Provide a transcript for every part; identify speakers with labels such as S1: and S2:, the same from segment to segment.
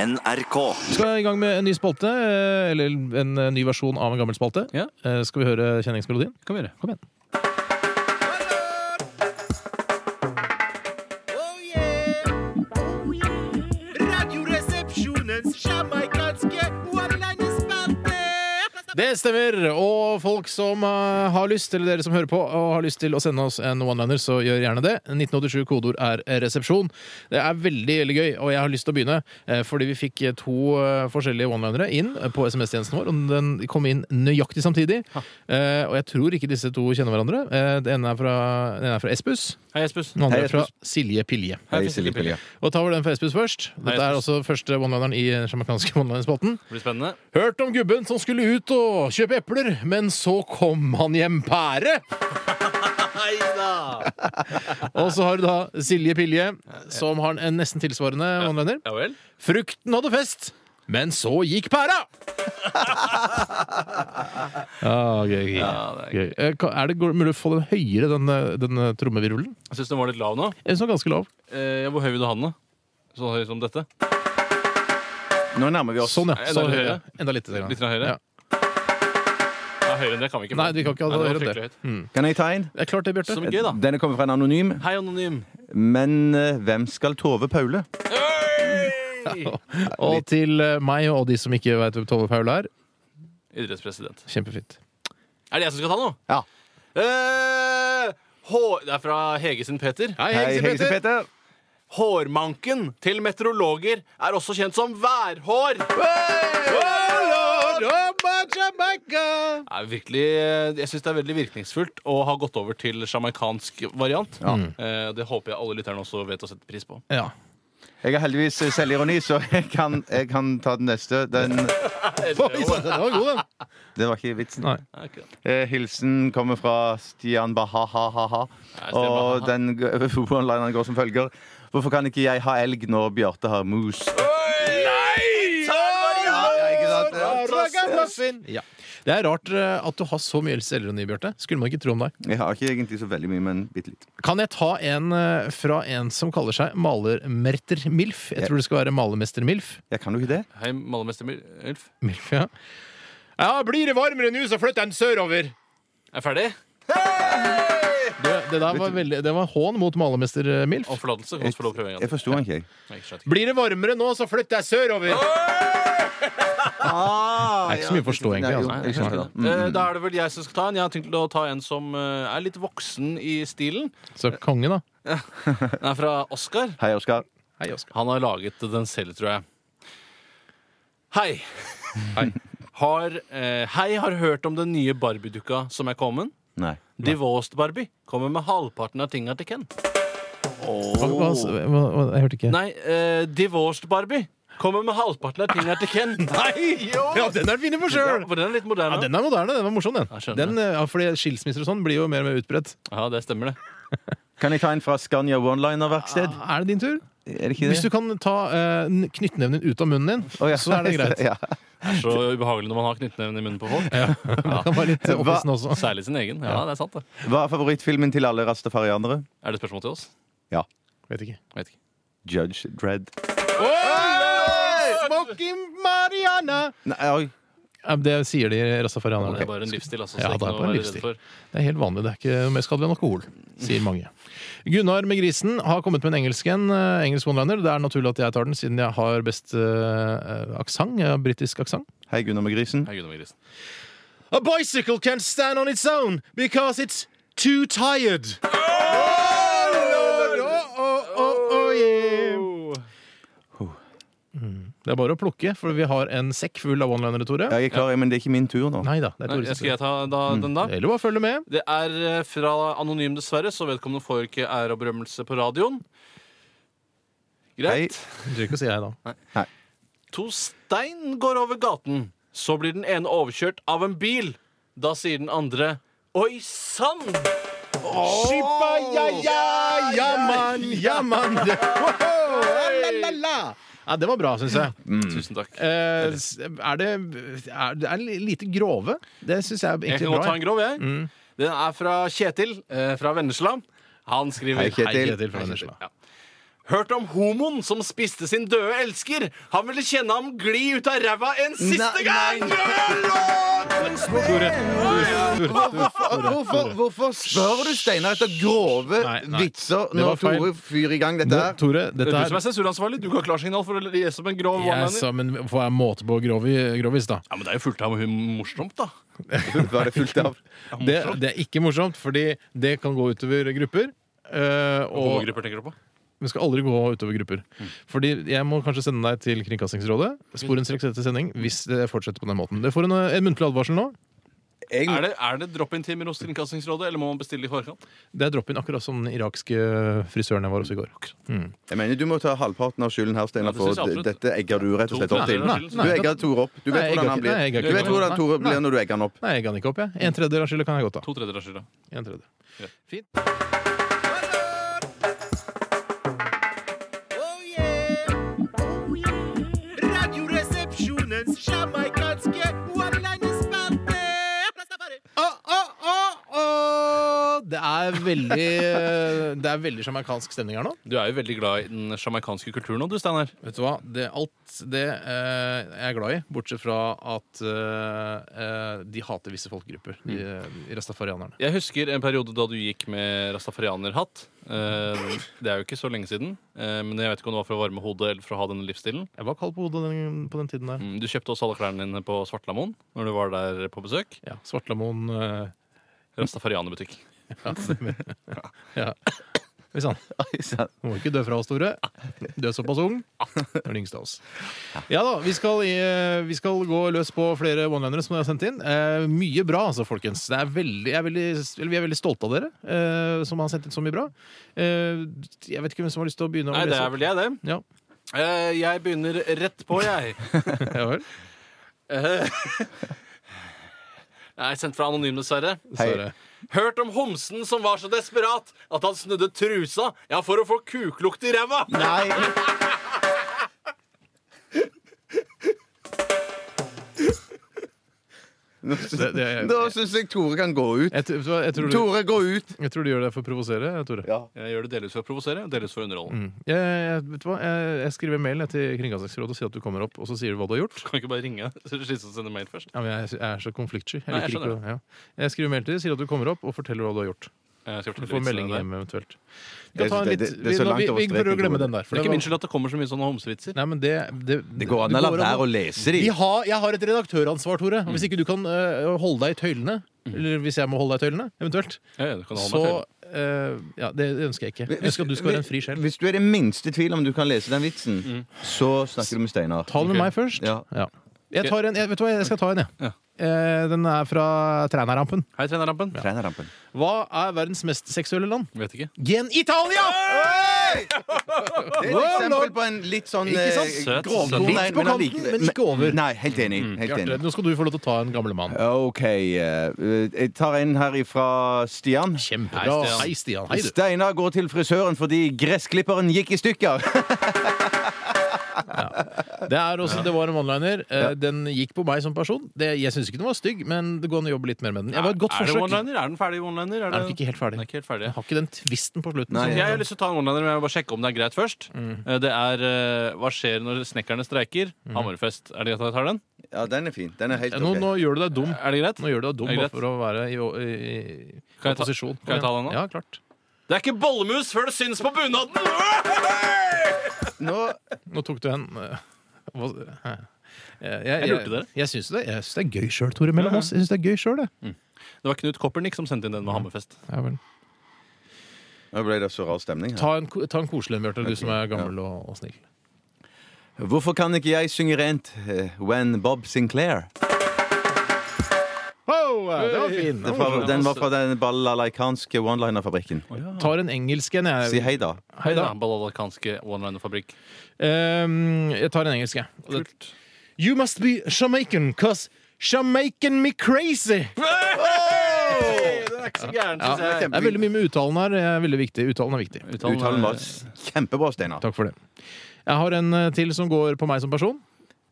S1: NRK.
S2: Vi skal i gang med en ny spalte, eh, eller en eh, ny versjon av en gammel spalte.
S3: Ja.
S2: Eh, Skal vi høre kjenningsmelodien?
S3: Kan vi gjøre.
S2: Kom igjen.
S4: Oh, Oh, Radioresepsjonens jamaikanske one-liner-spalte.
S2: Det stemmer. Og folk som eh, har lyst, eller dere som hører på og har lyst til å sende oss en one-liner, så gjør gjerne det. 1987 kodeord er resepsjon. Det er veldig veldig gøy, og jeg har lyst til å begynne. eh, Fordi vi fikk eh, to eh, forskjellige one-linere inn eh, på SMS-tjenesten vår, og den kom inn nøyaktig samtidig. Eh, Og jeg tror ikke disse to kjenner hverandre. Eh, Den ene er fra, den ene er fra Espus,
S3: Hei, Espus.
S2: den andre
S5: Hei,
S2: er fra
S5: Espus.
S2: Silje Pilje.
S3: Hei, Silje Pilje.
S2: Og tar vi den for Espus først. Dette
S3: Hei,
S2: er
S3: Espus.
S2: også første one-lineren i den sjamaikanske one-linerspalten.
S3: Det blir spennende.
S2: Hørt om gubben som skulle ut og kjøpe epler, men så kom han hjem pære. og så har du da Silje Pilje, som har en nesten tilsvarende one-liner.
S3: Ja vel?
S2: Frukten hadde fest, men så gikk pæra! ah, gøy, gøy.
S3: Ja, det er
S2: Gøy. Eh, ka- Er det går- mulig å få den høyere, den, eh, den eh, trommevirvelen?
S3: Jeg syns den var litt lav nå.
S2: Jeg synes den var ganske lav.
S3: Eh, ja, hvor høy vil du ha den, da? Så høy som dette?
S5: Nå nærmer vi oss.
S2: Sånn, ja.
S3: Enda
S2: Så,
S3: litt
S2: høyere.
S3: høyere.
S2: Enda litt. grann.
S3: Litt høyere?
S2: Ja.
S3: Ja, høyere enn det kan vi ikke. få.
S2: Nei, vi kan ikke ha det
S3: Nei, det var
S2: høyere enn det.
S3: fryktelig
S2: Mm.
S5: Kan jeg ta en?
S2: Det er klart det, Bjarte.
S3: Som gøy, da.
S5: Denne kommer fra en anonym.
S3: Hei, anonym.
S5: Men eh, hvem skal Tove Paule?
S2: Og til eh, meg og de som ikke veit hvem Tove Paul er.
S3: Idrettspresident.
S2: Kjempefint.
S3: Er det jeg som skal ta nå?
S5: Ja.
S3: Eh, H det er fra Hegesen Peter.
S5: Hei, Hegse Peter.
S3: Hårmanken til meteorologer er også kjent som værhår. Det er virkelig, eh, jeg syns det er veldig virkningsfullt å ha gått over til sjamaikansk variant. Eh, Det håper jeg alle lytterne også vet å sette pris på.
S2: Ja.
S5: Jeg har heldigvis eh, selvironi, så jeg kan, jeg kan ta den neste. Den,
S2: Oi, sant, Den var god, den.
S5: det var ikke vitsen.
S2: Nei.
S3: Er ikke det?
S5: Eh, Hilsen kommer fra Stian Baha-ha-ha.
S3: Stian Baha-ha.
S5: Og den g- one-lineren går som følger. Hvorfor kan ikke jeg ha elg når Bjarte har mus? Ja, ikke sant?
S2: Ja. Det er rart eh, at du har så mye selvironi, Bjarte. Skulle man ikke tro om deg.
S5: Jeg har ikke egentlig så veldig mye, men bitte litt.
S2: Kan jeg ta en eh, fra en som kaller seg Malermerter Milf? Jeg tror det skal være Malermester Milf.
S5: Jeg kan jo ikke det.
S3: Hei, malermester Mil- Ulf.
S2: Milf, ja. Ja, blir det varmere nå, så flytter jeg den sørover.
S3: Er jeg ferdig?
S2: Du, det der var, veldig, det var hån mot Malermester eh, Milf.
S3: Om forlatelse. Kan du få lov å prøve en gang
S5: Jeg
S3: til?
S5: forsto han ikke, jeg.
S3: Nei, ikke sant.
S2: Blir det varmere nå, så flytter jeg sørover. Det er ikke så mye å forstå, egentlig.
S5: Nei,
S2: Altså.
S5: jeg skjønte det. Mm.
S3: Eh, Da er det vel jeg som skal ta en. Jeg har tenkt å ta en som eh, er litt voksen i stilen.
S2: Så konge, da.
S3: Den er fra Oskar.
S5: Hei, Oskar.
S2: Hei, Oskar.
S3: Han har laget den selv, tror jeg. Hei. Har, eh, hei har hørt om den nye Barbie-dukka som er kommet.
S5: Nei.
S3: Divorced Barbie kommer med halvparten av tinga til Ken.
S2: Hva, hva, hva, hva, jeg hørte ikke.
S3: Nei, eh, Divorced Barbie kommer med halvparten av tinga til Ken. Nei, jo!
S2: Ja, den er fin i for
S3: Ja,
S2: sjøl!
S3: for den er litt
S2: Ja,
S3: moderne.
S2: den er moderne. Den var morsom, den.
S3: Jeg skjønner.
S2: den eh, ja, fordi skilsmisser og sånn blir jo mer og mer utbredt.
S3: Ja, det stemmer, det.
S5: Kan jeg ta en fra Scania One-liner-verksted?
S2: Er det din tur?
S5: Ah, Er det ikke
S2: Hvis du
S5: det?
S2: kan ta eh, n- knyttneven din ut av munnen din,
S5: Å, ja.
S2: så er det greit.
S5: Ja.
S3: Det er så ubehagelig når man har knyttneven i munnen på folk.
S2: Det kan være litt opphissende også.
S3: Særlig sin egen. Ja, det er sant, det.
S5: Hva er favorittfilmen til alle rastafarianere?
S3: Er det spørsmål til oss?
S2: Vet ikke.
S3: Vet ikke.
S5: Judge Dredd.
S2: Smoking Mariana!
S5: Nei, oi.
S2: Ja, det sier de
S3: Det
S2: rastafarianerne.
S3: er bare en livsstil, altså. Så
S2: Ja,
S3: det er
S2: det er
S3: ikke
S2: bare
S3: noe å
S2: en
S3: være
S2: livsstil.
S3: redd for.
S2: Det er helt vanlig. Det er ikke mer skadelig enn alkohol, sier mange. Gunnar med grisen har kommet med en engelsk en. eh, Engelsk one-liner. Det er naturlig at jeg tar den, siden jeg har best uh, aksent. Britisk aksent.
S5: Hei, Gunnar med grisen.
S3: Nei, Gud, det var grisen.
S2: A bicycle can stand on its own because it's too tired. Det er bare å plukke, for vi har en sekk full av one-linere, Tore.
S5: Ja, jeg er klar, men det er ikke min tur nå.
S2: Nei da. det er
S3: Nei,
S2: Tore Mm.
S3: jeg
S2: sin
S3: skal jeg ta da, den, da?
S2: tur. Eller bare følge med.
S3: Det er eh, fra Anonym, dessverre, så vedkommende får ikke ære og berømmelse på radioen. Greit.
S2: Du trenger ikke å si hei, da.
S3: To stein går over gaten. Så blir den ene overkjørt av en bil. Da sier den andre Oi sann!
S2: Mm. Skippa, ja, Oh. ja, jamman, jamman. Woho, la, la, la. Ja, det var bra, syns jeg.
S3: Tusen takk.
S2: Eh, s- er det er, det er lite grove? Det syns jeg Mm. er
S3: Jeg
S2: egentlig
S3: kan godt ta
S2: bra.
S3: en grov, jeg. Den er fra Kjetil eh, fra Vennesla. Han skriver
S5: Hei, Kjetil.
S2: Hei, Kjetil fra Vennesla.
S3: Ja. Hørt om homoen som spiste sin døde elsker. Han ville kjenne ham gli ut av ræva en siste
S5: Nei,
S3: gang!
S5: nei. Hvorfor,
S2: Tore.
S5: hvorfor spør du Steinar etter grove
S2: Nei, nei.
S5: vitser
S2: Det var
S5: når
S2: feil.
S5: Tore fyrer i gang dette
S2: Nå,
S5: her?
S2: Tore,
S3: Det
S2: dette
S3: er du som
S2: er
S3: er sensuransvarlig. Du ga klarsignal for å lese opp en grov
S2: jeg
S3: one-liner.
S2: sa, men Får jeg måte på grovi- grovis, da?
S3: Ja, men det er jo fullt av hum- morsomt, da.
S5: Hva er det fullt av?
S2: Det, det er ikke morsomt, fordi det kan gå utover grupper. eh, og
S3: Homogrupper tenker du på?
S2: vi skal aldri gå utover grupper.
S3: Mm.
S2: Fordi jeg må kanskje sende deg til Kringkastingsrådet sporenstreks etter sending hvis det fortsetter på den måten. Det får en, eh, en muntlig advarsel nå.
S3: Er det, er det drop-in-timer hos Kringkastingsrådet, eller må man bestille i forkant?
S2: Det er drop-in, akkurat som den irakske frisøren jeg var hos i går. Mm.
S5: Jeg mener Du må ta halvparten av skylden her,
S3: Ja,
S5: Steinar.
S3: det
S5: For
S3: synes jeg absolutt.
S5: dette egger du rett og slett
S3: To
S5: opp til.
S3: tredjedeler av
S2: Nei,
S3: skylden.
S5: Du egger Tore opp. Du
S2: Nei,
S5: vet
S2: jeg egger
S5: hvordan han
S2: ikke. Nei, jeg egger
S5: blir. Du
S2: ikke.
S5: vet hvordan
S2: Nei.
S5: Tore blir
S2: Nei.
S5: når du egger han opp.
S2: Nei, jeg ga den ikke opp, jeg. En tredjedel av skylda kan jeg godt ta.
S3: To tredjedeler av skylda.
S2: En tredjedel. Fint.
S4: Oh yeah! Oh yeah! Radioresepsjonens sjamaikanske one-linerspalte!
S2: Ah, Det er veldig eh, Det er veldig sjamaikansk stemning her nå.
S3: Du er jo veldig glad i den sjamaikanske kulturen nå, du, Steinar.
S2: Vet du hva? Det, alt det eh, jeg er glad i, bortsett fra at eh, eh, de hater visse folkegrupper.
S3: Mm.
S2: De, eh, rastafarianerne.
S3: Jeg husker en periode da du gikk med rastafarianerhatt. Eh, Det er jo ikke så lenge siden, eh, men jeg vet ikke om det var for å varme hodet eller for å ha denne livsstilen.
S2: Jeg var kald på hodet den, på den tiden der.
S3: Mm, Du kjøpte også alle klærne dine på Svartlamoen når du var der på besøk.
S2: Ja, Svartlamoen eh,
S3: Rastafarianerbutikk.
S2: ja, stemmer. ja. Oi sann.
S5: sant.
S2: Du må ikke dø fra oss, Tore. Du er såpass ung. Du er den yngste av oss. Ja da, vi skal, i, vi skal gå løs på flere one-linere som dere har sendt inn. Eh, mye bra, altså, folkens. Det er veldig, jeg er veldig, eller vi er veldig stolte av dere eh, som har sendt inn så mye bra. Eh, jeg vet ikke hvem som har lyst til å begynne. å
S3: Nei, det
S2: lese
S3: er
S2: opp.
S3: vel jeg, det.
S2: Ja.
S3: Eh, Jeg begynner rett på, jeg.
S2: Ja vel.
S3: Eh, Jeg er sendt fra Anonym, dessverre.
S2: Så
S5: Hei.
S2: er det-
S3: Hørt om homsen som var så desperat at han snudde trusa ja, for å få kuklukt i ræva.
S5: Nei,
S2: Det- det-
S5: Da syns jeg Tore kan gå ut.
S2: Jeg t- vet du hva, jeg tror du-
S5: Tore, gå ut!
S2: jeg tror du gjør det for å provosere, Tore.
S3: Jeg gjør det delvis for å provosere, delvis for å underholde.
S2: Mm. Jeg, jeg, vet du hva? Jeg, jeg skriver mail jeg, til Kringkastingsrådet og sier at du kommer opp, og så sier du hva du har gjort.
S3: Kan ikke bare ringe så slitsomt å sende mail først?
S2: Ja, men jeg, jeg er så konfliktsky. Jeg,
S3: Nei, jeg
S2: liker ikke
S3: skjønner
S2: å- ja. jeg skriver mail til deg, sier at du kommer opp, og forteller hva du har gjort.
S3: Jeg Eh, skal
S2: Du
S3: fortelle
S2: får
S3: vitsene
S2: melding
S3: sånn der.
S2: hjem eventuelt. Vi, kan ta
S5: Jeg
S2: en vits-
S5: synes det- det- det er
S2: vi,
S5: så
S2: la- vi, vi
S5: langt over
S2: prøver å
S5: streken,
S2: glemme
S5: Tore.
S2: den der. for
S3: Det
S2: det
S3: er ikke
S2: var-
S3: min skyld at det kommer så mye sånne homsevitser.
S2: Nei, men det, det,
S5: Det går an å la være å lese de.
S2: Vi har, jeg har et redaktøransvar, Tøyre.
S3: Mm.
S2: Hvis ikke du kan øh, holde deg i tøylene, eller hvis jeg må holde deg i tøylene, eventuelt,
S3: Ja, ja, du kan holde
S2: så
S3: meg til.
S2: øh, Ja, det det ønsker jeg ikke. Jeg ønsker at du skal være en fri sjel. Mm.
S5: Hvis du er i minste tvil om du kan lese den vitsen, så snakker du med Steinar.
S2: Ta den med meg først.
S5: Ja.
S2: Ja. Jeg tar en, jeg, vet du hva, jeg skal ta en, jeg.
S3: Ja.
S2: Eh, den er fra Trænarampen.
S3: Hei, trenerrampen.
S5: Trenerrampen.
S2: Hva er verdens mest seksuelle land?
S3: Vet ikke.
S2: Gen Italia!
S5: Det er et eksempel på en litt sånn
S2: Ikke sant?
S5: eh,
S3: Søt.
S5: grovkorn,
S3: Søt.
S5: nei,
S2: Litt på
S5: allike-
S2: kanten, men ikke over. Mm,
S5: Nei, helt enig. Helt
S2: Bjarte,
S5: enig.
S2: nå skal du få lov til å ta en gammel mann.
S5: OK. eh, jeg tar en her ifra Stian.
S2: Kjempebra. Hei,
S3: Hei,
S2: Stian. Hei, du.
S5: Steinar går til frisøren fordi gressklipperen gikk i stykker.
S2: Det, er også, det var en one-liner. Eh, Den gikk på meg som person. Det, jeg syns ikke den var stygg, men det går an å jobbe litt mer med den. Jeg var et godt
S3: er det
S2: forsøk.
S3: one-liner? Er den ferdig one-liner?
S2: Er den ikke helt
S3: Den er
S2: ferdig?
S3: ikke helt ferdig.
S2: Jeg har ikke den tvisten på slutten.
S5: Nei,
S2: som-
S3: Altså, Jeg har lyst til å ta en one-liner, men jeg må bare sjekke om det er greit først.
S2: Mm.
S3: Eh, Det er eh, Hva skjer når snekkerne streiker?
S2: Mm.
S3: Hammerfest. Er det greit at jeg tar den?
S5: Ja, den er fin. Den er helt
S2: Eh, nå, nå gjør du deg dum.
S3: Er det greit?
S2: Mm. Nå gjør du deg dum
S3: Er det
S2: bare
S3: greit?
S2: for å være i, i, i
S3: Kan jeg ta-
S2: opposisjon.
S3: kan jeg ta den nå?
S2: Ja, klart.
S3: Det er ikke bollemus før det syns på bunaden!
S5: Nå,
S2: Nå tok du en eh, hva, hæ? jeg, jeg,
S3: Jeg lurte dere.
S2: Jeg syns det, jeg syns det er gøy sjøl, Tore, mellom oss. Jeg syns det er gøy sjøl, det.
S3: Det var Knut Koppernik som sendte inn den med
S2: Mm.
S3: Hammerfest.
S2: Ja, vel.
S5: nå ble det så rar stemning her.
S2: Ta en, ko- ta en koselig en, Bjarte, du som er gammel og, og snill.
S5: Hvorfor kan ikke jeg synge rent eh, When Bob Sinclair?
S2: Oh, det var fin.
S5: Det var, den var fra den balalaikanske one-liner-fabrikken.
S2: Tar en engelsk en,
S5: Si
S2: jeg.
S5: hei, da.
S2: Hei da.
S3: Balalaikanske one-liner-fabrikk.
S2: Ehm, jeg tar en engelsk, jeg. Og det- You must be Jamaican, cause Jamaican me crazy.
S3: Den er ikke så gæren, syns
S5: Ja,
S3: jeg.
S2: Det er veldig mye med uttalen her. Det er veldig viktig. Uttalen er viktig.
S5: Uttalen var s- kjempebra, Steinar.
S2: Takk for det. Jeg har en eh, til som går på meg som person.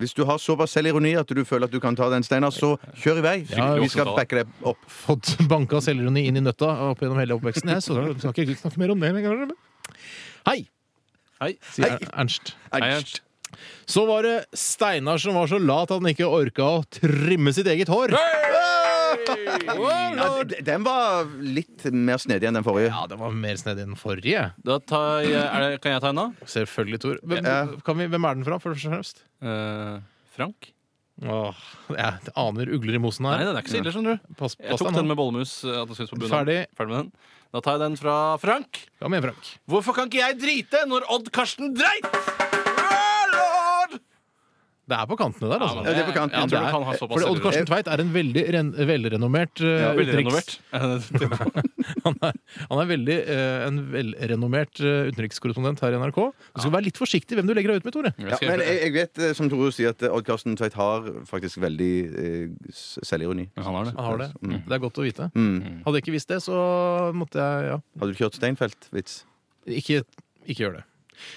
S5: Hvis du har såpass selvironi at du føler at du kan ta den, Steinar, så kjør i vei.
S2: Ja,
S5: Vi skal backe deg opp.
S2: Fått banka selvironi inn i nøtta opp gjennom hele oppveksten. Jeg så- skal ikke snakke mer om det. men- Hei!
S3: Hei.
S2: Si Er- Ernst.
S3: Hei, Ernst.
S2: Så var det Steinar som var så lat at han ikke orka å trimme sitt eget hår.
S5: Ja, d- den var litt mer snedig enn den forrige.
S2: Ja, det var mer snedig enn den forrige.
S3: Da tar jeg, er det, kan jeg ta en, da?
S2: Selvfølgelig, Tor. Hvem,
S5: Ja.
S2: kan vi, hvem er den fra, først og fremst?
S3: Eh, Frank?
S2: Åh, jeg aner ugler i mosen
S3: Nei,
S2: her.
S3: den er ikke så ille, skjønner du.
S2: Pass,
S3: Jeg
S2: pass
S3: tok
S2: deg
S3: den
S2: nå.
S3: med bollemus. eh, At den syns på bunnen.
S2: Ferdig.
S3: Ferdig med den. Da tar jeg den fra Frank.
S2: Kom igjen, Frank.
S3: Hvorfor kan ikke jeg drite når Odd Karsten dreit? Åh, lord!
S2: Det er på kantene der, altså.
S5: Ja, det er på kanten.
S3: Jeg
S2: Det
S3: tror
S2: er-
S3: du kan ha såpass
S2: Fordi Odd Karsten Tveit er en veldig ren, velrenommert eh,
S5: Ja,
S3: Veldig
S2: utenriks...
S3: renovert. Eh,
S2: Han er, han er veldig, eh, en velrenommert eh, utenrikskorrespondent her i NRK. Du skal være litt forsiktig hvem du legger deg ut med, Tore.
S5: Ja, men jeg, jeg vet, eh, som Tore sier, at eh, Odd Karsten Tveit har faktisk veldig eh, s- selvironi.
S3: Ja, han har det.
S2: Han har det.
S5: Mm.
S2: Det er godt å vite.
S5: Mm.
S2: Hadde jeg ikke visst det, så måtte jeg ja.
S5: Har du kjørt Steinfeld-vits?
S2: Ikke, ikke gjør det.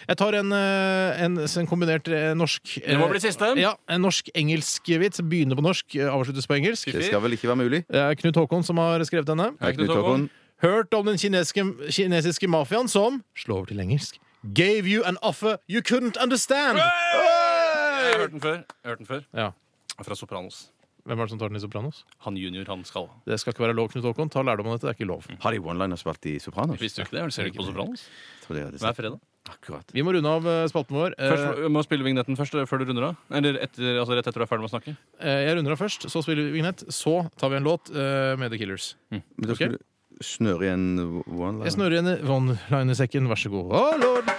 S2: Jeg tar en, eh, en, en kombinert eh, norsk
S3: Det må bli siste.
S2: Ja, en norsk-engelsk vits. Begynner på norsk, eh, avsluttes på engelsk.
S5: Det skal vel ikke være mulig?
S2: Det er Knut Håkon som har skrevet denne.
S3: Hei, Knut
S5: Knut Håkon.
S2: Hørt om den kinesiske, kinesiske mafiaen som Slå over til engelsk. Gave you an offer you couldn't understand.
S3: Jeg har hørt den før. Jeg har hørt den før.
S2: Ja.
S3: Fra Sopranos.
S2: Hvem er det som tar den i Sopranos?
S3: Han junior, han skal.
S2: Det skal ikke være lov, Knut Håkon. Ta lærdom av dette. Det er ikke lov.
S5: Har de one-liners spilt i Sopranos?
S3: Visste du ikke det? Ser du ikke på Sopranos?
S5: Tror jeg hadde
S3: Hver
S5: sagt.
S3: fredag.
S5: Akkurat.
S2: Vi må runde av eh, spalten vår. Eh,
S3: Først må spille vignetten først, eh, før du runder av. Eller etter, altså rett etter du er ferdig med å snakke.
S2: eh, Jeg runder av først, så spiller vi vignett. Så tar vi en låt eh, med The Killers.
S5: Men da
S2: Ok.
S5: skal du snøre igjen
S2: Jeg
S5: one-liner.
S2: snurrer igjen i one-liner-sekken. Vær så god. Å, lord!